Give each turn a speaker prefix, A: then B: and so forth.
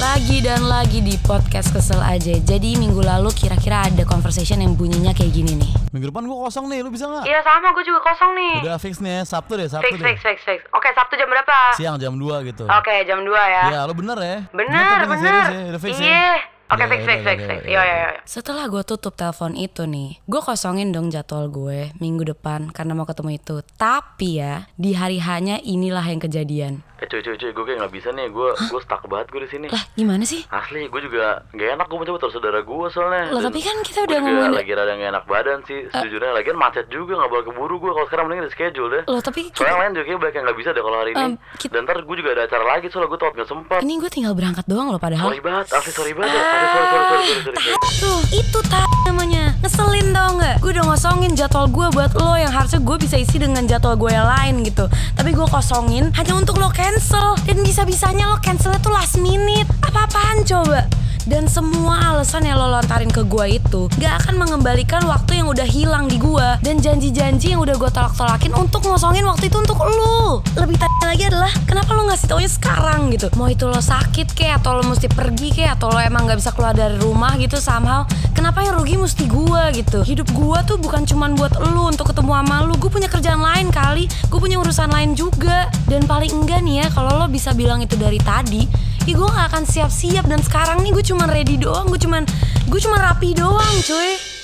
A: lagi dan lagi di podcast kesel aja. Jadi minggu lalu kira-kira ada conversation yang bunyinya kayak gini nih.
B: Minggu depan gue kosong nih, lu bisa nggak?
C: Iya sama, gue juga kosong
A: Iya.
C: nih.
B: Udah fix nih, ya, Sabtu deh, Sabtu
C: fix,
B: deh.
C: fix, fix, fix. Oke, Sabtu jam berapa?
B: Siang jam 2 gitu.
C: Oke, jam 2 ya.
B: Ya, lu bener ya.
C: Bener,
B: tuh,
C: bener.
B: serius ya, Udah fix ya.
C: Iya. Oke,
B: Udah,
C: fix,
B: udah,
C: fix,
B: udah,
C: fix,
B: udah,
C: fix.
B: udah,
C: Iya,
B: udah.
C: iya, iya.
A: Setelah gue tutup telepon itu nih, gue kosongin dong jadwal gue minggu depan karena mau ketemu itu. Tapi ya, di hari hanya inilah yang kejadian.
D: Eh cuy cuy cuy gue kayak nggak bisa nih gue gue stuck banget gue di sini
A: Lah, gimana sih?
D: asli gue juga gak enak gue mencoba saudara gue soalnya
A: Lah,
D: Dan
A: tapi kan kita
D: gua
A: udah
D: juga
A: ngomongin- Eh.
D: lagi rada gak enak badan sih sejujurnya lagian macet juga gak bakal keburu gue kalau sekarang mending di schedule deh
A: Loh, tapi kita-
D: soalnya yang lain juga kayaknya banyak yang gak bisa deh kalau hari ini
A: Em, kita-
D: dan ntar gue juga ada acara lagi soalnya gue telat gak sempat
A: Ini Ah. gue tinggal berangkat doang loh padahal.
D: sorry banget asli sorry banget asli sorry sorry sorry sorry, sorry, sorry.
A: Tuh, itu tadi namanya Ngeselin tau nggak? Gue udah ngosongin jadwal gue buat lo Yang harusnya gue bisa isi dengan jadwal gue yang lain gitu Tapi gue kosongin hanya untuk lo cancel Dan bisa-bisanya lo cancelnya tuh last minute Apa-apaan coba? Dan semua alasan yang lo lontarin ke gue itu Gak akan mengembalikan waktu yang udah hilang di gue Dan janji-janji yang udah gue tolak-tolakin Untuk ngosongin waktu itu untuk lo Lebih tanya lagi adalah Kenapa lo ngasih taunya sekarang gitu Mau itu lo sakit kek Atau lo mesti pergi kek Atau lo emang gak bisa keluar dari rumah gitu somehow Kenapa yang rugi mesti gue gitu Hidup gue tuh bukan cuman buat lo Untuk ketemu sama lo Gue punya kerjaan lain kali Gue punya urusan lain juga Dan paling enggak nih ya Kalau lo bisa bilang itu dari tadi ya gue gak akan siap-siap dan sekarang nih gue cuman ready doang gue cuman gue cuman rapi doang cuy